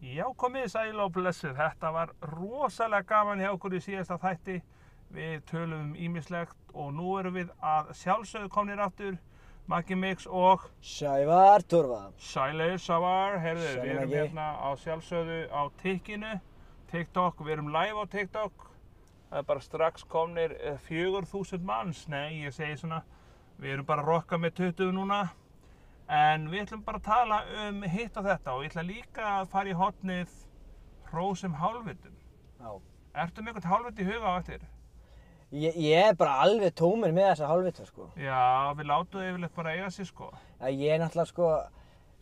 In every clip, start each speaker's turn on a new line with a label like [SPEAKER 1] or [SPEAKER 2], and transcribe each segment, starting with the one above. [SPEAKER 1] Já, komið sæl og blessuð. Þetta var rosalega gaman hjá okkur í síðasta þætti. Við tölum um ýmislegt og nú erum við að sjálfsögðu komnir aftur. Maggi Mix og
[SPEAKER 2] Sævar Torfa
[SPEAKER 1] Sælaur Savar. Herðu,
[SPEAKER 2] Sæll,
[SPEAKER 1] við erum
[SPEAKER 2] Maggi.
[SPEAKER 1] hérna á sjálfsögðu á tikkinu. TikTok, við erum live á TikTok. Það er bara strax komnir eh, 4000 manns. Nei, ég segi svona, við erum bara að rokka með 20 núna. En við ætlum bara að tala um hitt og þetta og ég ætla líka að fara í hotnið hrósum hálfvitum.
[SPEAKER 2] Já.
[SPEAKER 1] Ertu með eitthvað hálfvit í huga á eftir?
[SPEAKER 2] Ég, ég er bara alveg tómur með þessa hálfvita sko.
[SPEAKER 1] Já, við látum þau yfirleitt bara eiga sér sko.
[SPEAKER 2] Að Ég er náttúrulega sko,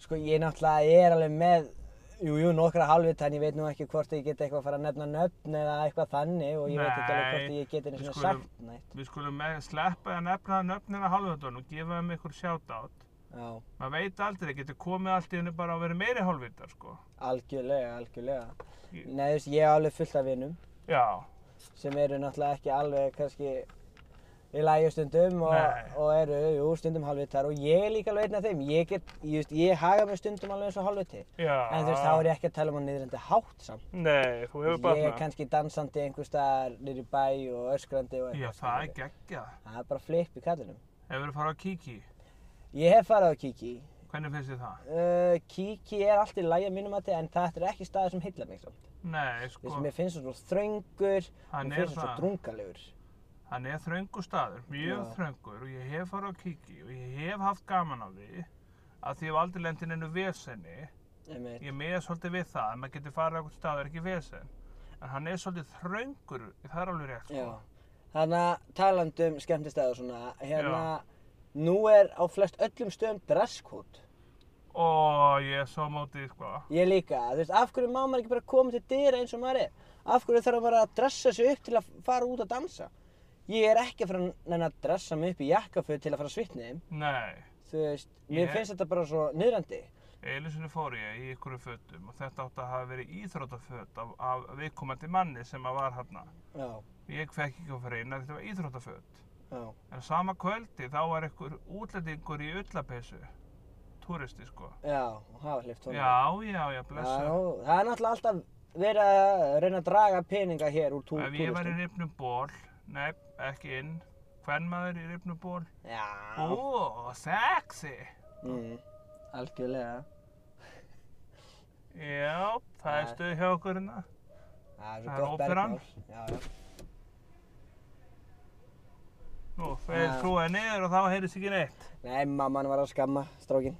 [SPEAKER 2] sko ég náttúrulega er alveg með Jú, jú, nokkra hálfvita en ég veit nú ekki hvort ég get eitthvað að fara að nefna nöfn eða eitthvað þannig og ég veit ekki alveg
[SPEAKER 1] Nei,
[SPEAKER 2] hvort ég get einu
[SPEAKER 1] við
[SPEAKER 2] svona
[SPEAKER 1] skulum-
[SPEAKER 2] sagt neitt.
[SPEAKER 1] Við skulum með sleppa að nefna nöfnina hálfvitunum og gefa þeim ykkur shoutout.
[SPEAKER 2] Já,
[SPEAKER 1] Maður veit aldrei, það getur komið allt í hennu bara að vera meiri hálfvitar sko.
[SPEAKER 2] algjörlega, algjörlega.
[SPEAKER 1] Ég-
[SPEAKER 2] Nei, þú veist, ég er alveg fullt af vinum
[SPEAKER 1] Já,
[SPEAKER 2] sem eru náttúrulega ekki alveg kannski í lægi stundum og,
[SPEAKER 1] Nei.
[SPEAKER 2] og eru, jú, stundum hálfvitar og ég er líka alveg einn af þeim. Ég get, ég, veist, ég haga mig stundum alveg eins og hálfviti.
[SPEAKER 1] já.
[SPEAKER 2] En þú veist, þá er ég ekki að tala um að niðrandi hátt samt.
[SPEAKER 1] Nei, þú hefur
[SPEAKER 2] Ég
[SPEAKER 1] batnað.
[SPEAKER 2] er kannski dansandi einhver staðar niður í bæ og öskrandi og
[SPEAKER 1] Já,
[SPEAKER 2] eitthvað.
[SPEAKER 1] það er
[SPEAKER 2] skilurðu.
[SPEAKER 1] geggjað.
[SPEAKER 2] Það er bara flip í kallinum.
[SPEAKER 1] Hefur þú farið á Kiki?
[SPEAKER 2] Ég hef farið á Kiki.
[SPEAKER 1] Hvernig finnst þið það?
[SPEAKER 2] Uh, Kiki er allt í lægja mínum að en þetta er ekki staður sem heilla mig samt.
[SPEAKER 1] Nei,
[SPEAKER 2] Þú
[SPEAKER 1] sko.
[SPEAKER 2] veist, mér finnst það svo þröngur,
[SPEAKER 1] Hann
[SPEAKER 2] mér
[SPEAKER 1] er
[SPEAKER 2] finnst það svo
[SPEAKER 1] það.
[SPEAKER 2] drungalegur.
[SPEAKER 1] Hann er þröngu staður, mjög
[SPEAKER 2] Já.
[SPEAKER 1] þröngur og ég hef farið á kiki og ég hef haft gaman af því að því ég hef aldrei lendin ennu vesenni.
[SPEAKER 2] Einmitt.
[SPEAKER 1] Ég meða svolítið við það en maður getur farið á einhvern stað og er ekki vesen. En hann er svolítið þröngur, það er alveg rétt sko.
[SPEAKER 2] Já. Þannig að talandum skemmtistæðu svona, hérna, nú er á flest öllum stöðum dresskót.
[SPEAKER 1] Og ég er svo á móti því sko.
[SPEAKER 2] Ég líka, þú veist, af hverju má maður ekki bara koma til dyra eins og maður er? Af hverju þarf maður að dressa sig upp til að fara út að dansa? Ég er ekki að fara að nenna að dressa mig upp í jakkaföt til að fara að svitna þeim.
[SPEAKER 1] Nei,
[SPEAKER 2] Þú veist, mér
[SPEAKER 1] Ég-
[SPEAKER 2] finnst þetta bara svo niðrandi.
[SPEAKER 1] einu sinni fór ég í ykkurum fötum og þetta átti að hafa verið íþrótaföt af, af viðkomandi manni sem að var hérna.
[SPEAKER 2] Já,
[SPEAKER 1] Ég fekk ekki að fara inn að þetta var íþrótaföt.
[SPEAKER 2] já,
[SPEAKER 1] En sama kvöldi þá var einhver útlendingur í ullapeysu, túristi sko.
[SPEAKER 2] já, það var hlift honum.
[SPEAKER 1] Já, já, já,
[SPEAKER 2] Já,
[SPEAKER 1] blessa.
[SPEAKER 2] nú, það er náttúrulega alltaf verið að reyna að draga peninga hér úr tú-
[SPEAKER 1] Ef ég var í
[SPEAKER 2] túristum.
[SPEAKER 1] rifnum ból, nei, ekki inn, hvern maður í rifnum ból?
[SPEAKER 2] Já,
[SPEAKER 1] Ó, sexy!
[SPEAKER 2] mm, algjörlega.
[SPEAKER 1] Já, það er
[SPEAKER 2] Nei.
[SPEAKER 1] stuð hjá okkur hérna.
[SPEAKER 2] Það
[SPEAKER 1] Það
[SPEAKER 2] er svo
[SPEAKER 1] er
[SPEAKER 2] gott
[SPEAKER 1] óperan.
[SPEAKER 2] bergmál. Já, já.
[SPEAKER 1] Nú, þeir
[SPEAKER 2] Nei.
[SPEAKER 1] skrúaði niður og þá heyrðist ekki neitt.
[SPEAKER 2] Nei, mamman var að skamma strákinn.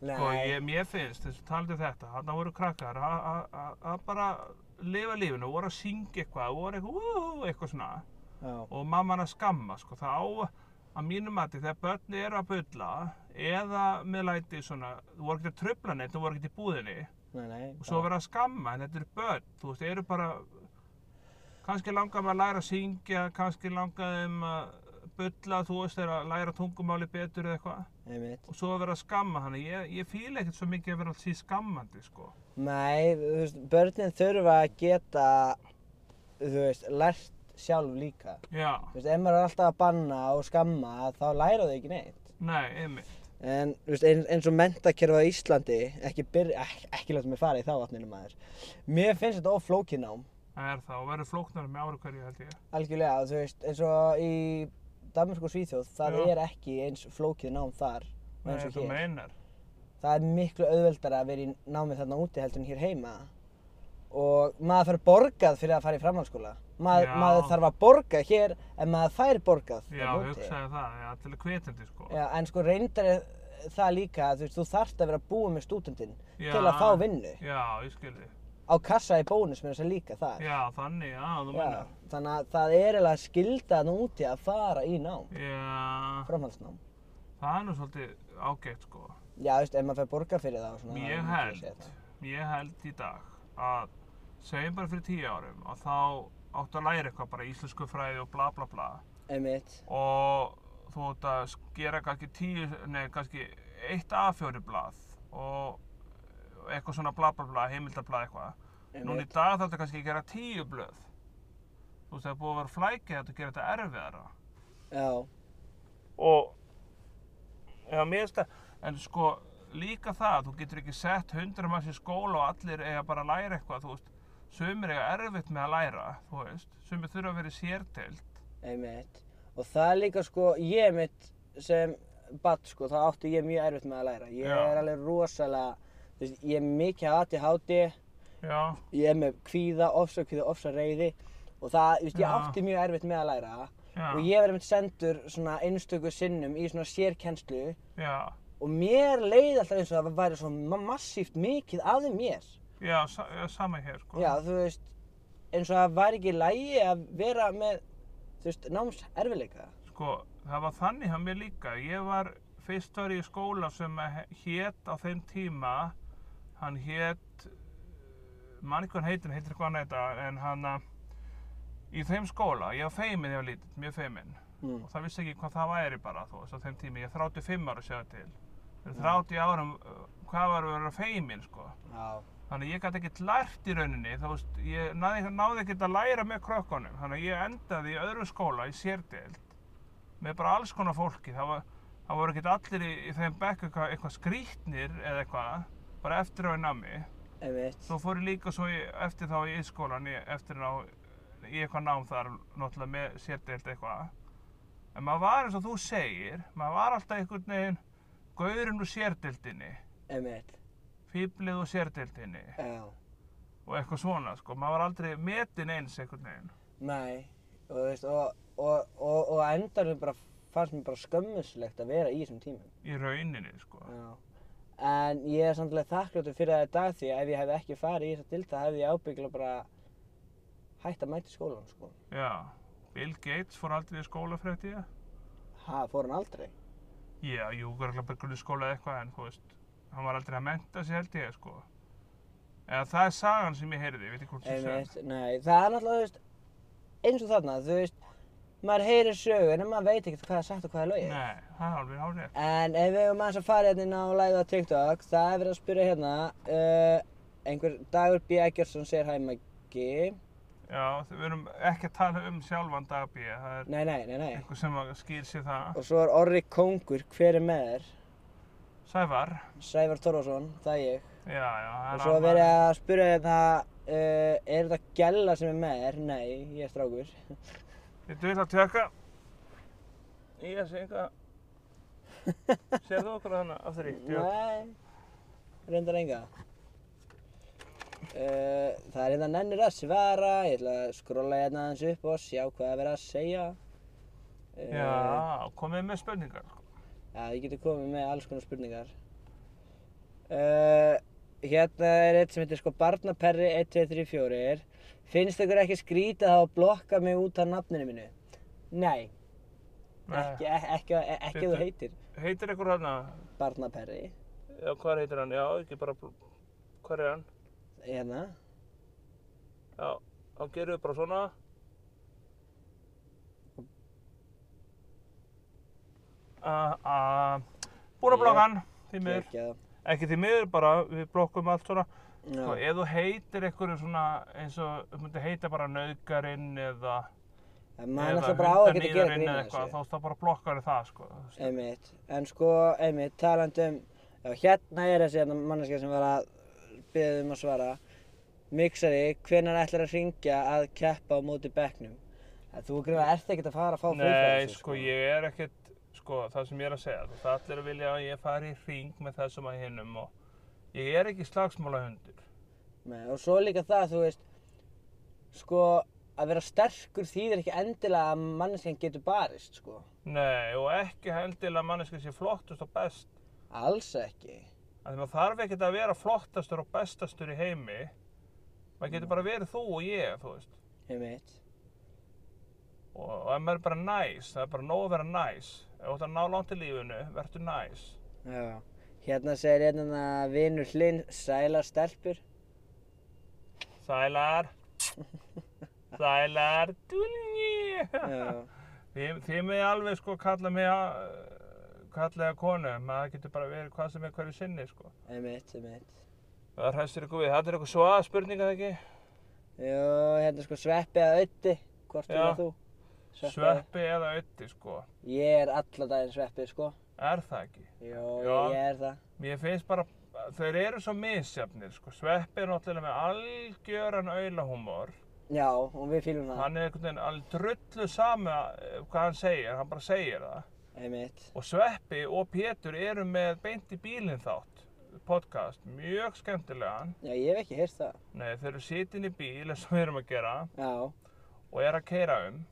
[SPEAKER 1] Sko,
[SPEAKER 2] Nei,
[SPEAKER 1] ég, mér finnst, þess að taldi um þetta, þarna voru krakkar að- að- að að bara lifa lífinu, voru að syngja eitthvað, voru eitthvað, "Woo", eitthvað svona.
[SPEAKER 2] já.
[SPEAKER 1] og mamman að skamma sko, þá á- að mínum mati þegar börn eru að bulla eða með læti svona, þú voru ekki að tröfla neitt, þú voru ekki í búðinni
[SPEAKER 2] Nei, nei.
[SPEAKER 1] og svo vera að skamma, en þetta eru börn, þú veist, eru bara kannski langar maður að læra að syngja, kannski langar þeim að bulla, þú veist, þeir að læra tungumáli betur eða eitthvað
[SPEAKER 2] Einmitt.
[SPEAKER 1] og svo að vera að skamma hann, ég, ég fíla ekkert svo mikið að vera alltaf skammandi sko.
[SPEAKER 2] Nei, þú veist, börnin þurfa að geta, þú veist, lært sjálf líka.
[SPEAKER 1] Já,
[SPEAKER 2] Þú veist, ef maður er alltaf að banna og skamma, þá læra þau ekki neitt.
[SPEAKER 1] nei, einmitt,
[SPEAKER 2] En, þú veist, eins, eins og mentakerfa á Íslandi, ekki byrja, ekki, ekki láta mig fara í þá vatninu maður. Mér finnst þetta oflókið nám,
[SPEAKER 1] það er það og verður flóknar með ári hverju held ég.
[SPEAKER 2] algjörlega, þú veist, eins og í Danmarku og Svíþjóð, það
[SPEAKER 1] Já.
[SPEAKER 2] er ekki eins flókið nám þar og eins
[SPEAKER 1] Nei,
[SPEAKER 2] og
[SPEAKER 1] þú
[SPEAKER 2] hér.
[SPEAKER 1] meinar.
[SPEAKER 2] það er miklu auðveldara að vera í námi þarna úti heldur en hér heima og maður fær borgað fyrir að fara í framhaldsskóla maður,
[SPEAKER 1] Já.
[SPEAKER 2] maður þarf að borga hér en maður fær borgað
[SPEAKER 1] Já, um
[SPEAKER 2] þarna úti.
[SPEAKER 1] hugsaði það, já, til að kvetandi sko.
[SPEAKER 2] Já, en sko reyndar er það líka að þú, veist, þú þarft að vera búið með stúdentinn til að
[SPEAKER 1] Já.
[SPEAKER 2] fá vinnu
[SPEAKER 1] Já, ég skilði.
[SPEAKER 2] á kassa í bónus með þess að líka þar
[SPEAKER 1] Já, þannig, já, þú
[SPEAKER 2] Já,
[SPEAKER 1] meinar.
[SPEAKER 2] þannig að það er eiginlega skilda þarna úti að fara í nám
[SPEAKER 1] Já,
[SPEAKER 2] framhaldsnám
[SPEAKER 1] það er nú svolítið ágætt sko.
[SPEAKER 2] já, þú veist, ef maður fær borgað fyrir það og svona,
[SPEAKER 1] Ég
[SPEAKER 2] það er mikið að segja
[SPEAKER 1] held, ég held í dag að segjum bara fyrir tíu árum að þá áttu að læra eitthvað bara íslensku fræði og bla bla bla
[SPEAKER 2] það. einmitt,
[SPEAKER 1] og þú átt að gera kannski tíu, nei kannski eitt A4 blað og eitthvað svona bla bla bla, heimildablað eitthvað. Núna í
[SPEAKER 2] einmitt.
[SPEAKER 1] dag þarf þetta kannski að gera tíu blöð. Þú veist það er búið að vera flækið að gera þetta erfiðara.
[SPEAKER 2] Já,
[SPEAKER 1] og já, mér finnst það en sko líka það, þú getur ekki sett hundra manns í skóla og allir eiga bara að læra eitthvað, þú veist, sumir eiga erfitt með að læra, þú veist, sumir þurfa að vera í sérteild.
[SPEAKER 2] Einmitt. Og það er líka sko, ég mitt sem badd sko, þá átti ég mjög erfitt með að læra. Ég
[SPEAKER 1] Já.
[SPEAKER 2] er alveg rosalega, þú veist, ég er mikið aðti háti,
[SPEAKER 1] Já,
[SPEAKER 2] ég er með kvíða, ofsa kvíða, ofsa reyði og það, þú veist, ég
[SPEAKER 1] Já.
[SPEAKER 2] átti mjög erfitt með að læra
[SPEAKER 1] já,
[SPEAKER 2] og ég verði mitt sendur svona einstöku sinnum í svona sérkennslu
[SPEAKER 1] já,
[SPEAKER 2] og mér leiði alltaf eins og það væri svo ma- massíft mikið aðeins mér.
[SPEAKER 1] já, sa já, sama hér, sko.
[SPEAKER 2] Já, þú veist, eins og það væri ekki lægi að vera með, þú veist, námserfileika.
[SPEAKER 1] Sko, það var þannig hjá mér líka. Ég var fyrst var ég í skóla sem hétt á þeim tíma, hann hétt, mann ekki hvað hann heitir, hann heitir eitthvað annað þetta, en hann að, í þeim skóla, ég var feiminn þegar ég var lítill, mjög feiminn.
[SPEAKER 2] Mm.
[SPEAKER 1] Og það vissi ekki hvað það væri bara, þú veist, á þeim tíma. Ég er 35 ára að segja til. Fyrir 30 árum, uh, hvað var að vera feiminn, sko?
[SPEAKER 2] Já.
[SPEAKER 1] Þannig að ég gæti ekkert lært í rauninni, þú veist, ég náði, náði ekkert að læra með krökkunum. Þannig að ég endaði í öðru skóla í sérdeild með bara alls konar fólki. Það, var, það voru ekkert allir í, í þeim bekk eitthvað, eitthvað skrítnir eða eitthvað, bara eftir á í námi.
[SPEAKER 2] Einmitt.
[SPEAKER 1] Svo fór ég líka svo í, eftir þá í skólan, í, eftir ná, í eitthvað nám þar, náttúrulega með sérdeild eitthvað. En maður var eins og þú segir, maður var alltaf einhvern veginn gaurinn úr sérdeildinni,
[SPEAKER 2] Einmitt.
[SPEAKER 1] fýblið úr sérdeildinni.
[SPEAKER 2] Já.
[SPEAKER 1] og eitthvað svona sko, maður var aldrei metin eins einhvern veginn.
[SPEAKER 2] Nei. Og þú veist, og, og, og, og á endanum bara fannst mér bara skömmuslegt að vera í þessum tímum.
[SPEAKER 1] í rauninni sko.
[SPEAKER 2] Já. En ég er samtilega þakkláttur fyrir það í dag því að ef ég hefði ekki farið í þessa dild þá hefði ég ábyggla bara hætt að mæta í skólan, sko.
[SPEAKER 1] Já, Bill Gates fór aldrei í skóla frétti ég.
[SPEAKER 2] Ha, fór hann aldrei?
[SPEAKER 1] Já, jú, verður bara grunnskóla eða eitthvað en þú veist, hann var aldrei að menta sig held ég sko. Eða það er sagan sem ég heyrði, ég veit ekki hvort þú
[SPEAKER 2] Einmitt,
[SPEAKER 1] segir.
[SPEAKER 2] nei, það er náttúrulega, þú veist, eins og þarna, þú veist, maður heyrir sögu en maður veit ekkert hvað er sagt og hvað er lögið.
[SPEAKER 1] Nei, það er alveg hálfrið.
[SPEAKER 2] En ef við höfum aðeins að fara hérna inn á live á TikTok, það er verið að spyrja hérna, uh, einhver Dagur B. Eggersson segir hæ Maggi.
[SPEAKER 1] Já, við erum ekki að tala um sjálfan dagbíð, það er
[SPEAKER 2] Nei, nei, nei, nei.
[SPEAKER 1] einhver sem að skýr sér það.
[SPEAKER 2] Og svo er Orri Kongur, hver er með þér?
[SPEAKER 1] Sævar,
[SPEAKER 2] Sævar Þorvarsson, það er ég.
[SPEAKER 1] já, já, það
[SPEAKER 2] Og
[SPEAKER 1] er
[SPEAKER 2] svo er verið
[SPEAKER 1] annar.
[SPEAKER 2] að spyrja hérna, uh, er þetta Gjalla sem er með þér? Nei, ég er strákur.
[SPEAKER 1] Ég vil að tjöka. Ég sé eitthvað. Serðu okkur þannig aftur í? Djöfull.
[SPEAKER 2] Nei, reyndar enga. Uh, það er hérna nennir að svara, ég ætla að skrolla hérna aðeins upp og sjá hvað er verið að segja. Uh,
[SPEAKER 1] Já, komið með spurningar. sko.
[SPEAKER 2] Já, ég geti komið með alls konar spurningar. Uh, hérna er eitt sem heitir sko Barnaperri 1234. Finnst ykkur ekki skrítið að hafa blokkað mig út af nafninu mínu? Nei, ekki,
[SPEAKER 1] Nei,
[SPEAKER 2] ek- ekki, e, ekki, ekki ef þú
[SPEAKER 1] Bíddu.
[SPEAKER 2] heitir
[SPEAKER 1] Heitir einhver hann
[SPEAKER 2] Barnaperri.
[SPEAKER 1] Já, hvað heitir hann? Já, ekki bara... Hvað er hann?
[SPEAKER 2] Hérna,
[SPEAKER 1] Já, þá gerum við bara svona. Uh, uh, búin að blokka hann, því miður.
[SPEAKER 2] kekjað.
[SPEAKER 1] Ekki því miður, bara við blokkum allt svona.
[SPEAKER 2] Já.
[SPEAKER 1] Sko, ef þú heitir einhverju svona, eins og, þú myndir heita bara nauðgarinn eða...
[SPEAKER 2] En maður
[SPEAKER 1] eða
[SPEAKER 2] náttúrulega bara á ekkert að gera
[SPEAKER 1] hundaníðarinn
[SPEAKER 2] grín
[SPEAKER 1] eða
[SPEAKER 2] að
[SPEAKER 1] eitthvað,
[SPEAKER 2] þessu.
[SPEAKER 1] Þá þá bara blokkar það, sko. þú veist.
[SPEAKER 2] Einmitt. En sko, einmitt, talandi um, já, hérna er þessi hérna manneska sem var að beðið um að svara. Mixari, hvenar ætlar að ringja að keppa á móti bekknum? Að Þú greiða, ert ekkert að fara að fá
[SPEAKER 1] Nei,
[SPEAKER 2] þessu,
[SPEAKER 1] sko, ég er ekkert, sko, það sem ég er að segja, þú veist, allir að vilja að ég fari í hring með þessum að hinnum og ég er ekki slagsmálahundur.
[SPEAKER 2] Nei, og svo líka það, þú veist, sko, að vera sterkur þýðir ekki endilega að manneskan getur barist, sko.
[SPEAKER 1] Nei, og ekki hendilega manneska sé flottust og best.
[SPEAKER 2] Alls ekki.
[SPEAKER 1] Af því maður þarf ekkert að vera flottastur og bestastur í heimi. Maður getur bara verið þú og ég, þú veist.
[SPEAKER 2] Einmitt.
[SPEAKER 1] Og, og ef maður er bara næs, það er bara nóg að vera næs. Ef þú ætti að ná langt í lífinu, verður næs.
[SPEAKER 2] Já. Hérna segir hérna vinur hlinn sæla stelpur.
[SPEAKER 1] Sælar. Sælar. Dúlnji.
[SPEAKER 2] Já.
[SPEAKER 1] Þið, þið með alveg sko kalla mig að kalla ég að konu, maður getur bara verið hvað sem er hverju sinni sko.
[SPEAKER 2] Einmitt, einmitt.
[SPEAKER 1] Það hræstir ykkur við, þetta er eitthvað svaða spurning eða ekki?
[SPEAKER 2] Jú, hérna sko sveppi að ötti, hvort
[SPEAKER 1] Já.
[SPEAKER 2] er þú? Sveppi. eða-
[SPEAKER 1] Sveppi eða ötti sko,
[SPEAKER 2] Ég er alla daginn sveppi, sko.
[SPEAKER 1] er það ekki?
[SPEAKER 2] Jú,
[SPEAKER 1] Já.
[SPEAKER 2] ég er það.
[SPEAKER 1] Mér finnst bara, þeir eru svo misjafnir, sko. Sveppi er náttúrulega með algjöran auðlahúmor.
[SPEAKER 2] Já, og við fýlum það,
[SPEAKER 1] Hann er einhvern veginn alveg drullu sama eh, hvað hann segir, hann bara segir það.
[SPEAKER 2] einmitt.
[SPEAKER 1] Og Sveppi og Pétur eru með beint í bílinn þátt, podcast, mjög skemmtilegan.
[SPEAKER 2] Já, ég hef ekki heyrt það.
[SPEAKER 1] Nei, þeir eru sitin í bíl eins og við erum að gera
[SPEAKER 2] Já,
[SPEAKER 1] og er að keira um,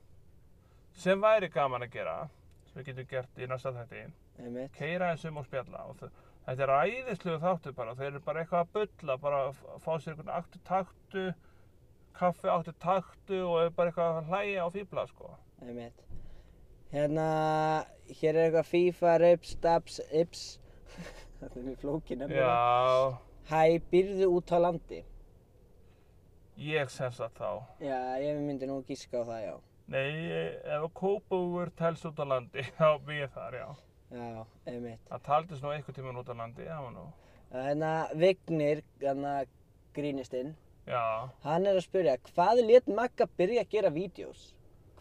[SPEAKER 1] sem væri gaman að gera, sem við getum gert í næsta þætti.
[SPEAKER 2] einmitt.
[SPEAKER 1] keira eins um og spjalla og þe- þetta er æðislegu þáttu bara þeir eru bara eitthvað að bulla bara að f- fá sér einhvern aktu taktu kaffi aktu taktu og eru bara eitthvað að hlæja og fýbla sko
[SPEAKER 2] Einmitt. Hérna, hér er eitthvað FIFA, rips, dabs, ips. Þetta er mjög flókin nefnilega.
[SPEAKER 1] já
[SPEAKER 2] Hæ, býrðu út á landi?
[SPEAKER 1] ég sens að þá
[SPEAKER 2] Já, ég myndi nú gíska á það, já.
[SPEAKER 1] nei ég- ef Kópavogur telst út á landi þá bý ég þar já
[SPEAKER 2] Já, einmitt.
[SPEAKER 1] það taldist nú einhvern tímann út á landi það var nú
[SPEAKER 2] Hérna, Vignir, hérna, grínistinn,
[SPEAKER 1] já
[SPEAKER 2] hann er að spyrja, hvað lét Magga byrja að gera vídeos?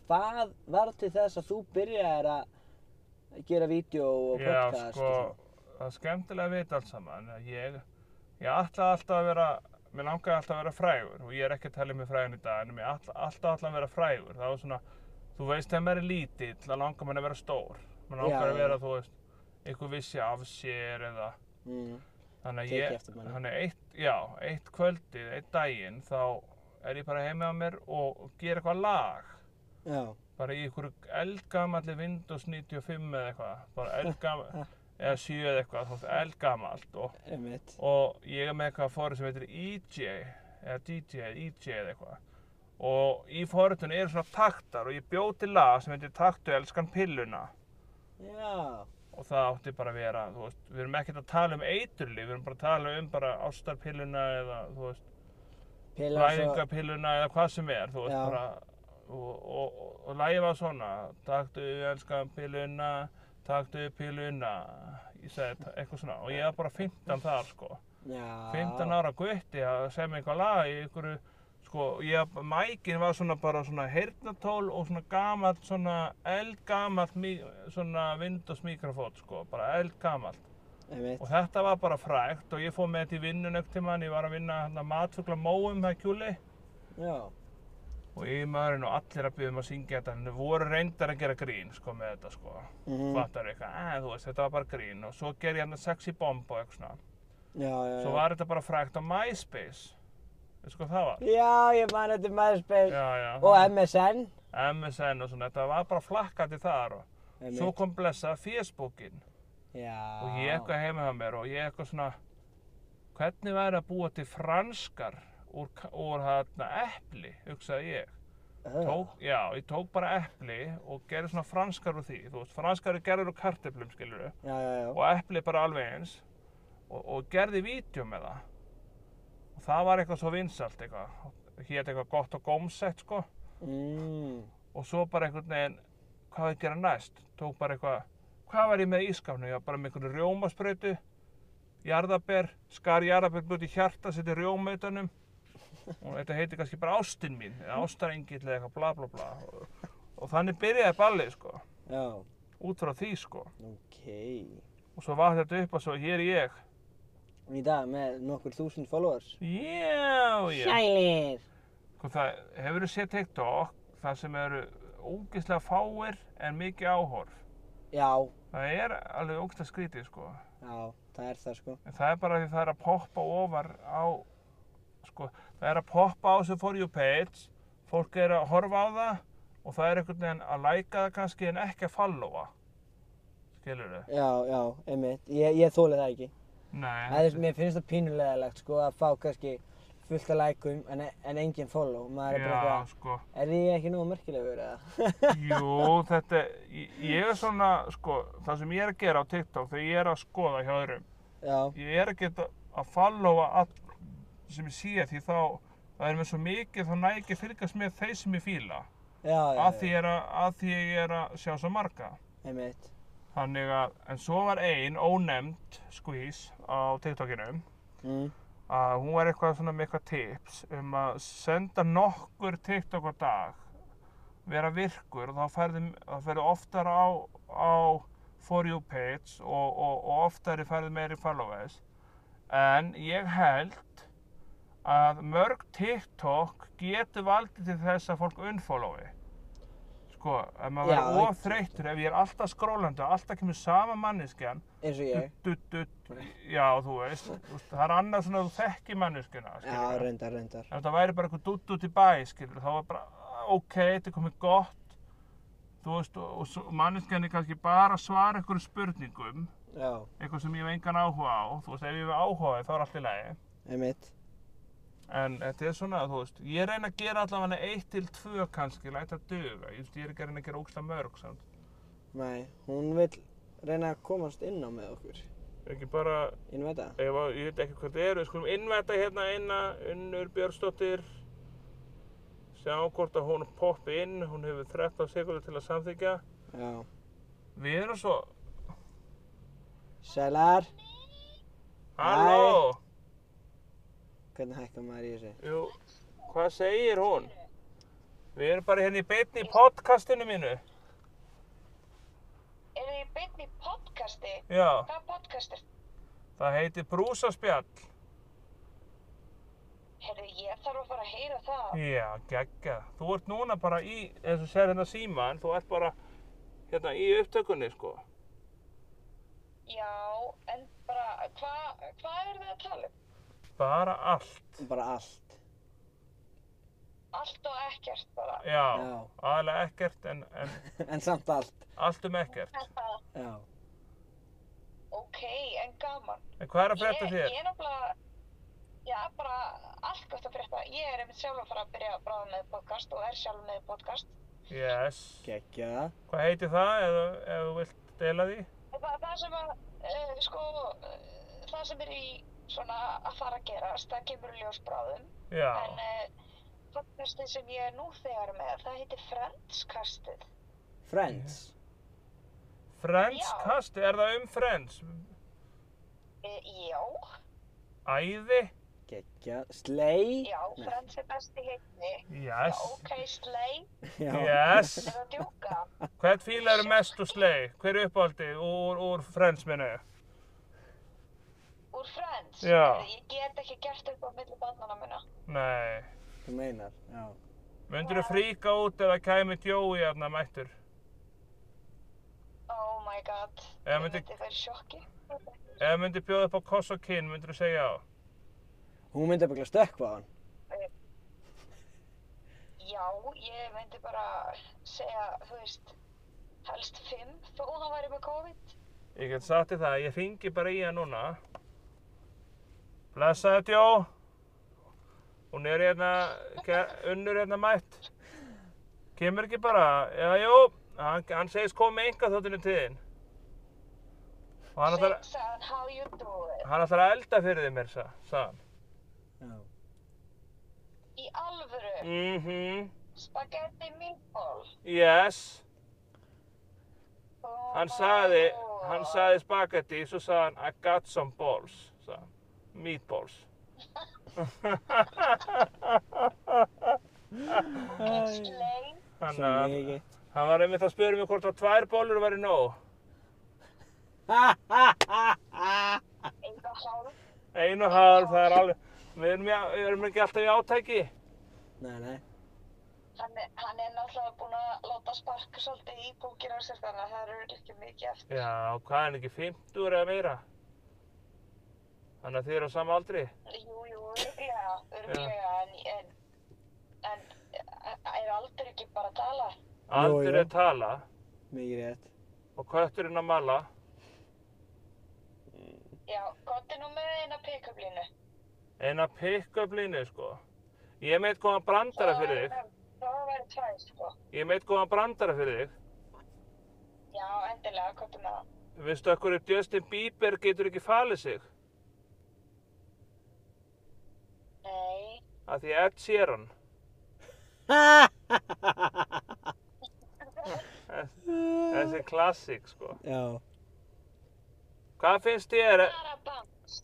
[SPEAKER 2] Hvað var til þess að þú byrjaðir að gera vídeo og
[SPEAKER 1] já
[SPEAKER 2] podcast?
[SPEAKER 1] sko
[SPEAKER 2] og
[SPEAKER 1] það er skemmtilega að vita allt saman ég ég ætla alltaf að vera mér langaði alltaf að vera frægur og ég er ekki að tala með frægun í dag en mér ætla, alltaf alltaf að vera frægur það var svona, þú veist þegar maður er lítill þá langar maður að vera stór maður langar
[SPEAKER 2] Já,
[SPEAKER 1] að
[SPEAKER 2] já.
[SPEAKER 1] vera, þú veist, einhver vissi af sér eða
[SPEAKER 2] svona? Mm,
[SPEAKER 1] þannig að
[SPEAKER 2] Tekið
[SPEAKER 1] ég,
[SPEAKER 2] eftir manni.
[SPEAKER 1] þannig að eitt, já, eitt kvöldið, eitt daginn þá er ég bara heima á mér og gera eitthvað lag
[SPEAKER 2] já,
[SPEAKER 1] bara í einhverju eldgamalli Windows 95 eða eitthvað bara eldgamal, eða 7 eða eitthvað þú veist, eldgamalt og
[SPEAKER 2] einmitt.
[SPEAKER 1] og ég er með eitthvað forrið sem heitir EJ eða DJ eða EJ eða eitthvað og í forritunni eru svona taktar og ég bjó til lag sem heitir taktu elskan pilluna
[SPEAKER 2] Já,
[SPEAKER 1] og það átti bara að vera, þú veist, við erum ekkert að tala um eiturli, við erum bara að tala um bara ástarpilluna eða, þú veist,
[SPEAKER 2] pilla
[SPEAKER 1] blæðingapilluna eða hvað sem er, þú veist,
[SPEAKER 2] Já.
[SPEAKER 1] bara og, og, og, og lagið var svona taktu elskan pilluna taktu pilluna ég segi þetta, eitthvað svona og ég var bara 15 þar, sko
[SPEAKER 2] Já.
[SPEAKER 1] 15 ára gutti að semja eitthvað lag í einhverju, sko, ég, mækin var svona bara svona heyrnatól og svona gamalt, svona eldgamalt, mí- svona Windows mikrofót, sko, bara eldgamalt.
[SPEAKER 2] Einmitt.
[SPEAKER 1] Og þetta var bara frægt og ég fór með þetta í vinnun ekkert tímann, ég var að vinna hérna matfugla móum það kjúli
[SPEAKER 2] Já.
[SPEAKER 1] og yfirmaðurinn og allir að byggðum að syngja þetta, en þau voru reyndar að gera grín, sko, með þetta, sko.
[SPEAKER 2] Mm
[SPEAKER 1] Fattar eitthvað, eh, þú veist, þetta var bara grín og svo ger ég hérna sexy bomb og eitthvað svona.
[SPEAKER 2] Já, já,
[SPEAKER 1] Svo
[SPEAKER 2] já.
[SPEAKER 1] var þetta bara frægt á MySpace, veistu hvað það var?
[SPEAKER 2] Já, ég man þetta um MySpace
[SPEAKER 1] já, já,
[SPEAKER 2] og
[SPEAKER 1] það-
[SPEAKER 2] MSN.
[SPEAKER 1] MSN og svona, þetta var bara flakkandi þar og
[SPEAKER 2] Einmitt. Ah.
[SPEAKER 1] svo kom blessað Facebookin
[SPEAKER 2] Já.
[SPEAKER 1] og ég eitthvað heima hjá mér og ég eitthvað svona hvernig væri að búa til franskar úr, ka- úr þarna epli, hugsaði ég tók, já, ég tók bara epli og gerði svona franskar úr því þú veist, franskar er gerður úr kartöflum, skilur
[SPEAKER 2] Já, já, já.
[SPEAKER 1] og epli bara alveg eins og, og gerði vídeo með það og það var eitthvað svo vinsalt eitthvað hétt eitthvað gott og gómsett sko
[SPEAKER 2] Mm.
[SPEAKER 1] og svo bara einhvern veginn, hvað á ég að gera næst? Tók bara eitthvað, hvað var ég með í ískapnu? Ég var bara með einhverju rjómasprautu, jarðaber, skar jarðaber búið í hjarta, seti rjóma utanum og þetta heitir kannski bara ástin mín, eða ástarengill eða eitthvað bla bla bla og, og þannig byrjaði ballið sko,
[SPEAKER 2] Já,
[SPEAKER 1] út frá því sko
[SPEAKER 2] ok.
[SPEAKER 1] og svo var þetta upp að svo hér er ég,
[SPEAKER 2] Í dag með nokkur þúsund followers.
[SPEAKER 1] já, já.
[SPEAKER 2] Sælir.
[SPEAKER 1] Sko það hefur séð TikTok, það sem eru ógeðslega fáir en mikið áhorf.
[SPEAKER 2] Já,
[SPEAKER 1] Það er alveg ógeðslega skrítið sko.
[SPEAKER 2] já, það er það sko.
[SPEAKER 1] En það er bara því það er að poppa ofar á, sko, það er að poppa á þessu For You page, fólk er að horfa á það og það er einhvern veginn að læka það kannski en ekki að followa. Skilur þau?
[SPEAKER 2] Já, já, einmitt. Ég, ég þóli það ekki.
[SPEAKER 1] Nei.
[SPEAKER 2] Það er, mér finnst það pínulegalegt sko að fá kannski fullt af lækum en, en engin follow. Maður er bara
[SPEAKER 1] Já,
[SPEAKER 2] eitthvað,
[SPEAKER 1] sko.
[SPEAKER 2] er ég ekki nógu merkilegur eða?
[SPEAKER 1] Jú, þetta, ég, ég er svona, sko, það sem ég er að gera á TikTok þegar ég er að skoða hjá öðrum,
[SPEAKER 2] já,
[SPEAKER 1] ég er ekki að followa allt sem ég sé því þá, það er mér svo mikið, þá næ ég ekki að fylgast með þeir sem ég fíla.
[SPEAKER 2] já, já,
[SPEAKER 1] að því, er að, að því ég er að sjá svo marga.
[SPEAKER 2] einmitt.
[SPEAKER 1] Þannig að, en svo var ein ónefnd skvís á TikTokinu
[SPEAKER 2] Mm.
[SPEAKER 1] að hún var eitthvað svona með eitthvað tips um að senda nokkur TikTok á dag, vera virkur og þá ferðu, þá ferðu oftar á, á for you page og, og, og oftari færið meiri followers en ég held að mörg TikTok getur valdið til þess að fólk unfollowi sko, ef maður
[SPEAKER 2] Já,
[SPEAKER 1] verður
[SPEAKER 2] það-
[SPEAKER 1] óþreyttur ef ég er alltaf skrólandi og alltaf kemur sama manneskjan
[SPEAKER 2] eins og ég.
[SPEAKER 1] dutt, dutt, já, þú veist þú veist, það er annað svona að þú þekki manneskjuna
[SPEAKER 2] Já,
[SPEAKER 1] skilurðu.
[SPEAKER 2] reyndar, reyndar.
[SPEAKER 1] Ef þetta væri bara eitthvað dutt út í bæ, skilur, þá var bara, "Ah, ok, þetta er komið gott, þú veist, og, og, og manneskjarnir kannski bara að svara einhverjum spurningum,
[SPEAKER 2] Já,
[SPEAKER 1] eitthvað sem ég hef engan áhuga á, þú veist, ef ég hef áhuga á því, þá er allt í lagi.
[SPEAKER 2] einmitt.
[SPEAKER 1] En þetta er svona, þú veist, ég reyna að gera allavega eitt til tvö kannski, læta duga, ég, veist, ég er ekki að reyna að gera ógsta mörg, samt.
[SPEAKER 2] Nei, hún vil reyna að komast inn á með okkur.
[SPEAKER 1] Ekki bara,
[SPEAKER 2] Inn með það.
[SPEAKER 1] ef að, ég veit ekki hvað þetta er, við skulum innvæta hérna einna, Unnur Björnsdóttir, sjá hvort að hún poppi inn, hún hefur 13 sekundur til að samþykja.
[SPEAKER 2] Já.
[SPEAKER 1] Við erum svo,
[SPEAKER 2] Sælar,
[SPEAKER 1] halló,
[SPEAKER 2] hvernig hækkar maður í þessu?
[SPEAKER 1] jú, hvað segir hún? Við erum bara hérna í beinni í podcastinu mínu.
[SPEAKER 3] Eru þið beinn í podcasti?
[SPEAKER 1] Já,
[SPEAKER 3] Hvað podcast er?
[SPEAKER 1] það heitir brúsaspjall.
[SPEAKER 3] Herðu, ég þarf að fara að heyra það.
[SPEAKER 1] Já, geggja. Þú ert núna bara í, eins og sér hérna síman, þú ert bara hérna í upptökunni, sko.
[SPEAKER 3] Já, en bara, hvað hva er þið að tala um?
[SPEAKER 1] Bara allt.
[SPEAKER 2] Bara allt.
[SPEAKER 3] Allt og ekkert bara.
[SPEAKER 1] Já, Já.
[SPEAKER 2] Já.
[SPEAKER 1] aðalega ekkert en, en
[SPEAKER 2] en samt allt.
[SPEAKER 1] allt um ekkert.
[SPEAKER 2] Já.
[SPEAKER 3] ok, en gaman.
[SPEAKER 1] En hvað er að frétta
[SPEAKER 3] Ég-
[SPEAKER 1] þér?
[SPEAKER 3] Ég er náttúrulega, já, bara allt gott að frétta. Ég er einmitt sjálf að fara að byrja bráðum með podcast og er sjálf með podcast.
[SPEAKER 1] Yes.
[SPEAKER 2] Gekkja.
[SPEAKER 1] Hvað heitir það, ef, þú- ef þú vilt deila því?
[SPEAKER 3] Og Það, það sem að, uh, sko, uh, það sem er í svona að fara að gerast, það kemur í ljós bráðum.
[SPEAKER 1] Já.
[SPEAKER 3] En uh, podcastið sem ég er nú þegar með, það heitir Friendskastið.
[SPEAKER 2] Friends.
[SPEAKER 1] Friends
[SPEAKER 3] Já.
[SPEAKER 1] kast, er það um Friends?
[SPEAKER 3] Uh, já,
[SPEAKER 1] Æði?
[SPEAKER 2] Gekkja. Slay.
[SPEAKER 3] já,
[SPEAKER 2] Nei.
[SPEAKER 3] Friends er besti heitni.
[SPEAKER 1] Yes.
[SPEAKER 3] Ok, Slay,
[SPEAKER 1] Yes.
[SPEAKER 3] er það að djúka?
[SPEAKER 1] Hvern fílar eru mest úr slei? Hver er uppáhaldi úr, úr frensminu?
[SPEAKER 3] Úr Friends?
[SPEAKER 1] Já.
[SPEAKER 3] Heyrðu, Ég get ekki gert upp á milli barnana minna.
[SPEAKER 1] Nei.
[SPEAKER 2] Þú meinar. Já.
[SPEAKER 1] Myndur þú fríka út ef það kæmi Joey hérna mættur?
[SPEAKER 3] Oh my god,
[SPEAKER 1] Eða
[SPEAKER 3] ég
[SPEAKER 1] myndi-
[SPEAKER 3] myndi verið í sjokki.
[SPEAKER 1] Ef myndur bjóða upp á koss og kinn, myndur þú segja á?
[SPEAKER 2] Hún myndi byggja stökkva á hann.
[SPEAKER 3] Já, ég myndi bara segja, þú veist, helst fimm þó hann væri með COVID.
[SPEAKER 1] Ég get sagt þér það, ég ringi bara í hann núna. Blessaði Joe. Hún er hérna, ke- unnur hérna mætt. Kemur ekki bara, já, jú, hann, hann segist komið enga þóttinu til þín. Og hann ætlar,
[SPEAKER 3] Six and how you do it.
[SPEAKER 1] hann ætlar að elda fyrir þig mér, sa- sagði hann.
[SPEAKER 2] Já.
[SPEAKER 3] Í alvöru,
[SPEAKER 1] Mhm,
[SPEAKER 3] spaghetti meatball.
[SPEAKER 1] yes.
[SPEAKER 3] Oh
[SPEAKER 1] Hann
[SPEAKER 3] my
[SPEAKER 1] sagði,
[SPEAKER 3] god.
[SPEAKER 1] hann sagði spagetti, svo sagði hann I got some balls, sagði hann. Meatballs.
[SPEAKER 3] Slay.
[SPEAKER 1] Þannig
[SPEAKER 2] Svo
[SPEAKER 1] að
[SPEAKER 2] mikið.
[SPEAKER 1] hann var einmitt að spyrja mig hvort að tvær bólur væri nóg.
[SPEAKER 2] Ha ha ha ha.
[SPEAKER 3] Eða hálf.
[SPEAKER 1] Einu halv, það er alveg, við erum, í- við erum ekki alltaf í átæki.
[SPEAKER 2] Nei, nei.
[SPEAKER 3] Hann, er- hann er náttúrulega búinn að láta sparka svolítið í bókir á sér þannig að það eru ekki mikið eftir.
[SPEAKER 1] Já, hvað er hann ekki, 50 eða meira? Þannig að þið eru á sama aldri.
[SPEAKER 3] Jú, jú, örglega, örglega, en, en, en eh, er aldrei ekki bara að tala.
[SPEAKER 1] Aldur
[SPEAKER 2] jú.
[SPEAKER 1] er tala
[SPEAKER 2] Mikið rétt.
[SPEAKER 1] og kötturinn að malla.
[SPEAKER 3] Já, gott er nú með eina pick-up-línu.
[SPEAKER 1] Eina pick-up línu, sko. Ég er meitt góðan brandara fyrir þig.
[SPEAKER 3] Það væri tvær, sko.
[SPEAKER 1] Ég er meitt góðan brandara fyrir þig.
[SPEAKER 3] Já, endilega, gott er með það.
[SPEAKER 1] Veistu að hverju Justin Bieber getur ekki falið sig?
[SPEAKER 3] Nei,
[SPEAKER 1] Af því Ed Sheeran.
[SPEAKER 2] Ha ha ha ha ha.
[SPEAKER 1] Þessi klassík, sko.
[SPEAKER 2] Já.
[SPEAKER 1] Hvað finnst þér,
[SPEAKER 3] bara bams.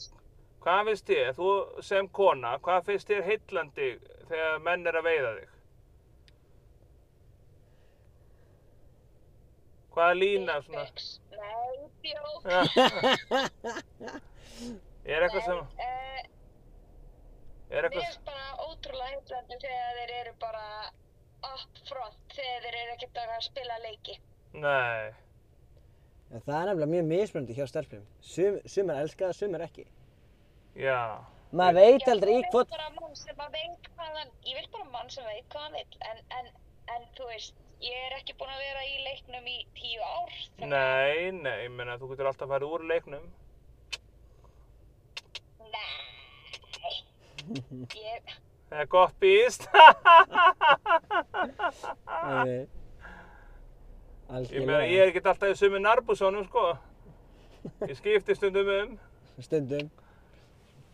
[SPEAKER 1] hvað finnst þér, þú sem kona, hvað finnst þér heillandi þegar menn er að veiða þig? Hvaða lína svona?
[SPEAKER 3] Nei, bjók.
[SPEAKER 1] Ja. er eitthvað sem,
[SPEAKER 3] Eh,
[SPEAKER 1] er
[SPEAKER 3] mér
[SPEAKER 1] eitthvað
[SPEAKER 3] finnst bara ótrúlega heimlandi þegar þeir eru bara up front, þegar þeir eru ekkert að spila leiki.
[SPEAKER 1] Nei,
[SPEAKER 2] En það er nefnilega mjög mismunandi hjá stelpum. Sum, sumar elska það, sumar ekki.
[SPEAKER 1] já,
[SPEAKER 2] Maður veit
[SPEAKER 3] Já,
[SPEAKER 2] aldrei í
[SPEAKER 3] ég vil
[SPEAKER 2] hvort...
[SPEAKER 3] bara mann sem að veit hvað hann, ég vil bara mann sem veit hvað hann vill, en, en, en þú veist, ég er ekki búin að vera í leiknum í tíu ár.
[SPEAKER 1] Mm.
[SPEAKER 3] þannig að-
[SPEAKER 1] nei, nei, ég meina þú getur alltaf farið úr leiknum.
[SPEAKER 3] Nei. Ég,
[SPEAKER 1] Það er gott býst.
[SPEAKER 2] eh,
[SPEAKER 1] ég meina ég
[SPEAKER 2] Algjörlega.
[SPEAKER 1] er ekkert alltaf í sömu narbúsónum sko. Ég skipti stundum um.
[SPEAKER 2] Stundum.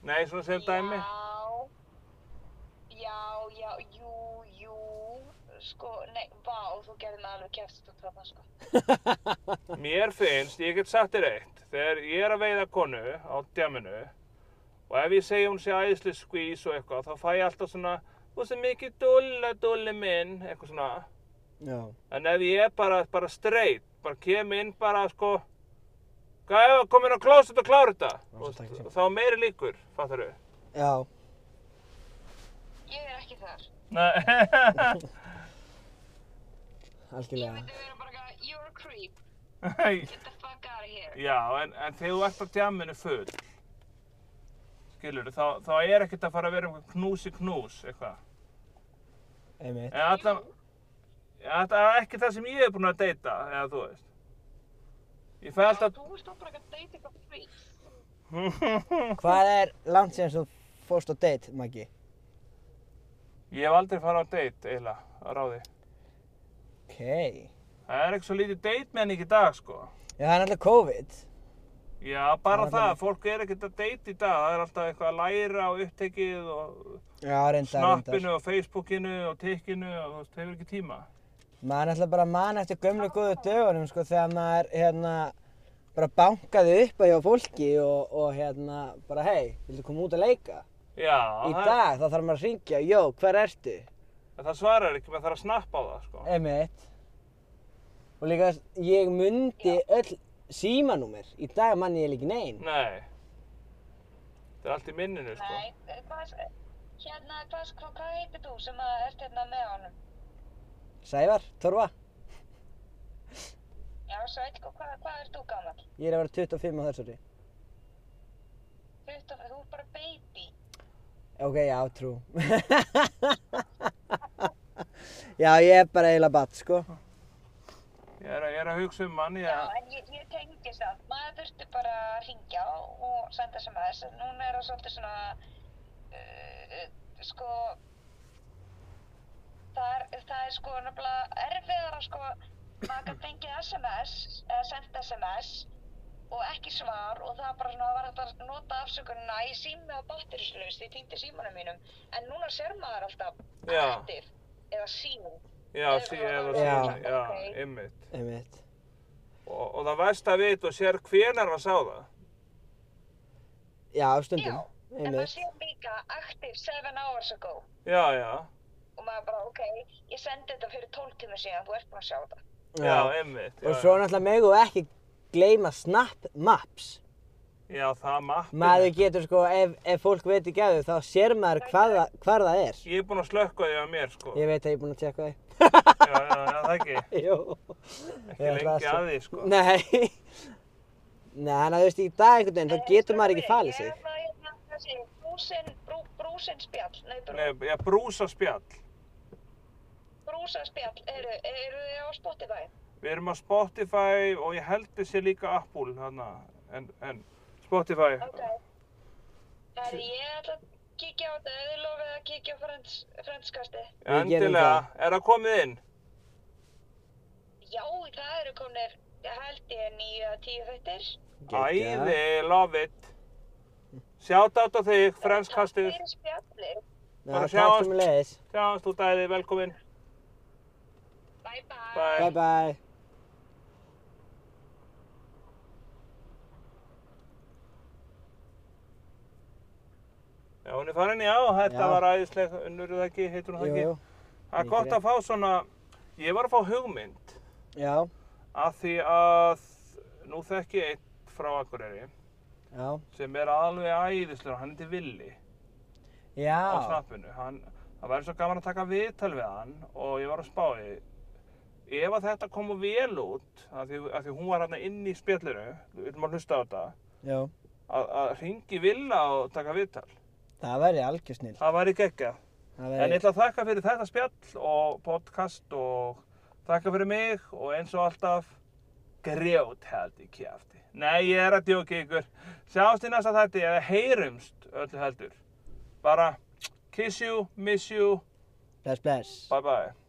[SPEAKER 1] Nei, svona sem dæmi.
[SPEAKER 3] Já, já, já, jú, jú, sko, nei, vá, þú gerði mig alveg kjæfst út frá það, sko.
[SPEAKER 1] Mér finnst, ég get sagt þér eitt, þegar ég er að veiða konu á djaminu og ef ég segi hún sé æðisli skvís og eitthvað, þá fæ ég alltaf svona, þú veist mikið dulla, dulli minn, eitthvað svona.
[SPEAKER 2] Já.
[SPEAKER 1] En ef ég er bara, bara straight, bara kem inn bara sko, gæfa, kom inn á klóset og klára þetta,
[SPEAKER 2] svo
[SPEAKER 1] og,
[SPEAKER 2] takk
[SPEAKER 1] og þá er meiri líkur, fattar þau?
[SPEAKER 2] Já.
[SPEAKER 3] Ég er ekki þar.
[SPEAKER 1] Nei,
[SPEAKER 3] Ég
[SPEAKER 2] Algjörlega.
[SPEAKER 3] myndi vera bara eitthvað, you're a creep, get the fuck out of here.
[SPEAKER 1] já, en, en þegar þú ert á djaminu full, skilur þá, þá er ekkert að fara að vera um knús í knús, eitthvað.
[SPEAKER 2] Einmitt.
[SPEAKER 1] En allan, ja, þetta er ekki það sem ég er búinn að deyta, eða þú veist. Ég fæ
[SPEAKER 3] Já,
[SPEAKER 1] alltaf,
[SPEAKER 3] þú veist bara eitthvað að deyta eitthvað creep.
[SPEAKER 2] Hvað er langt síðan sem þú fórst á date, Maggi?
[SPEAKER 1] ég hef aldrei farið á deyt eiginlega, á ráði.
[SPEAKER 2] Ok.
[SPEAKER 1] Það er ekki svo lítið deyt menning í dag, sko.
[SPEAKER 2] Já, það er náttúrulega COVID.
[SPEAKER 1] Já, bara
[SPEAKER 2] Já,
[SPEAKER 1] það,
[SPEAKER 2] það-
[SPEAKER 1] fólk er ekkert að deyta í dag, það er alltaf eitthvað að læra á upptekið og
[SPEAKER 2] Já, reyndar, reyndar.
[SPEAKER 1] snappinu og Facebookinu og tikkinu og þú veist, það hefur ekki tíma.
[SPEAKER 2] Maður er náttúrulega bara að manna eftir gömlu góðu dögunum, sko, þegar maður, hérna, bara bankaði upp að hjá fólki og, og hérna, bara, hei, viltu koma út að leika?
[SPEAKER 1] Já,
[SPEAKER 2] Í
[SPEAKER 1] það,
[SPEAKER 2] dag, þá þarf maður að ringja, jó, hver ertu?
[SPEAKER 1] það svarar ekki, maður þarf að snappa á það, sko.
[SPEAKER 2] Emitt. Og líka, ég myndi öll símanúmer. Í dag manni ég líki nein.
[SPEAKER 1] Nei. Þetta er allt í minninu, sko.
[SPEAKER 3] Nei, eh, hvað, hérna, hvað, hvað, hvað heitir þú sem að ert hérna með honum?
[SPEAKER 2] Sævar, Torfa,
[SPEAKER 3] Já, svo eitthvað, hvað, hvað ert þú gammal?
[SPEAKER 2] ég er að vera 25 á þessu ári.
[SPEAKER 3] Þú ert bara baby.
[SPEAKER 2] Ok, já, trú. já, ég er bara eiginlega batt, sko.
[SPEAKER 1] Ég er, að- ég er að hugsa um mann, ég
[SPEAKER 3] Já, en ég, ég tengi samt, maður þurfti bara að ringja og senda sem aðeins, en núna er það svolítið svona, uh, sko, það er, það er sko nefnilega erfiðara sko, maður kann fengið SMS, eða senda SMS og ekki svar og það er bara svona, það var hægt að nota afsökunina í sími og batterislaust, ég týndi símanum mínum, en núna ser maður alltaf
[SPEAKER 1] Já.
[SPEAKER 3] aktiv eða símum.
[SPEAKER 1] Já, sí, eða svona,
[SPEAKER 3] Já.
[SPEAKER 1] já,
[SPEAKER 3] Ok.
[SPEAKER 1] einmitt.
[SPEAKER 2] Emitt.
[SPEAKER 1] Og, og það verst að vita og sér hvenar hann sá það.
[SPEAKER 2] Já, stundum.
[SPEAKER 3] Já, En maður
[SPEAKER 2] Einmitt.
[SPEAKER 3] sér líka active 7 hours ago.
[SPEAKER 1] Já, já,
[SPEAKER 3] og maður bara, ok, ég sendi þetta fyrir 12 tíma síðan, þú ert búin að sjá þetta.
[SPEAKER 1] já, einmitt. Já,
[SPEAKER 2] Og svo náttúrulega megum við ekki gleyma Snap Maps.
[SPEAKER 1] já, það mappi.
[SPEAKER 2] Maður getur sko, ef, ef fólk veit ekki að þau, þá sér maður hvað, það- hvar það er.
[SPEAKER 1] Ég er búinn að slökka því á mér, sko.
[SPEAKER 2] Ég veit að ég er búinn að tjekka þau.
[SPEAKER 1] Já, já, já, það ekki.
[SPEAKER 2] Jó.
[SPEAKER 1] Ekki lengi að því, sko.
[SPEAKER 2] Nei. Nei, þannig að þú veist, í dag einhvern veginn, þá getur maður ekki falið sig.
[SPEAKER 3] sko, Ég var hérna, þessi, brúsin, brú, brúsin spjall, nei, brú,
[SPEAKER 1] Nei, já, brúsa spjall.
[SPEAKER 3] brúsa spjall, eru, eru þið á Spotify?
[SPEAKER 1] Við erum á Spotify og ég held þessi líka Apple, þarna. En, en, Spotify.
[SPEAKER 3] Ok. Það er ég ætla að kíkja á þetta, ef þið lofið að kíkja á Friends, Friendskasti.
[SPEAKER 2] Við gerum
[SPEAKER 1] Endilega, er það komið inn?
[SPEAKER 3] Já, það eru komnir, ég held ég, nýja tíu þettir.
[SPEAKER 2] Geggjað.
[SPEAKER 1] Æði, love it. Sjátt átt á þig, franskastur.
[SPEAKER 3] Takk fyrir spjallið,
[SPEAKER 2] Já,
[SPEAKER 1] Bara
[SPEAKER 2] takk
[SPEAKER 1] sjáumst.
[SPEAKER 2] sem leiðis.
[SPEAKER 1] Sjáumst út æði, velkomin.
[SPEAKER 3] bye bye.
[SPEAKER 1] Bye.
[SPEAKER 2] Bye bye.
[SPEAKER 1] Já, hún er farin, já, þetta
[SPEAKER 2] Já.
[SPEAKER 1] var æðisleg, unnur það ekki, heitur hún það
[SPEAKER 2] Jú,
[SPEAKER 1] ekki.
[SPEAKER 2] jú.
[SPEAKER 1] Það er
[SPEAKER 2] mikið
[SPEAKER 1] gott að fá svona, ég var að fá hugmynd
[SPEAKER 2] Já,
[SPEAKER 1] Af því að nú þekki ég einn frá Akureyri
[SPEAKER 2] Já,
[SPEAKER 1] sem er alveg æðislega, hann heitir Villi á
[SPEAKER 2] já,
[SPEAKER 1] snappinu. Hann, það væri svo gaman að taka viðtal við hann og ég var að spá því. Ef að þetta kom vel út, af því, af því hún var hann inn í spjallinu, við viljum að hlusta á þetta,
[SPEAKER 2] já,
[SPEAKER 1] að, að ringi Villa og taka viðtal.
[SPEAKER 2] það væri algjör snill.
[SPEAKER 1] Það væri geggjað.
[SPEAKER 2] Það
[SPEAKER 1] En ég
[SPEAKER 2] væri,
[SPEAKER 1] ætla að þakka fyrir þetta spjall og podcast og þakka fyrir mig og eins og alltaf grjót held í kjæfti. Nei, ég er að djóka ykkur. Sjáumst í næsta þætti eða heyrumst öllu heldur. Bara kiss you, miss you,
[SPEAKER 2] bless, bless.
[SPEAKER 1] bye bye.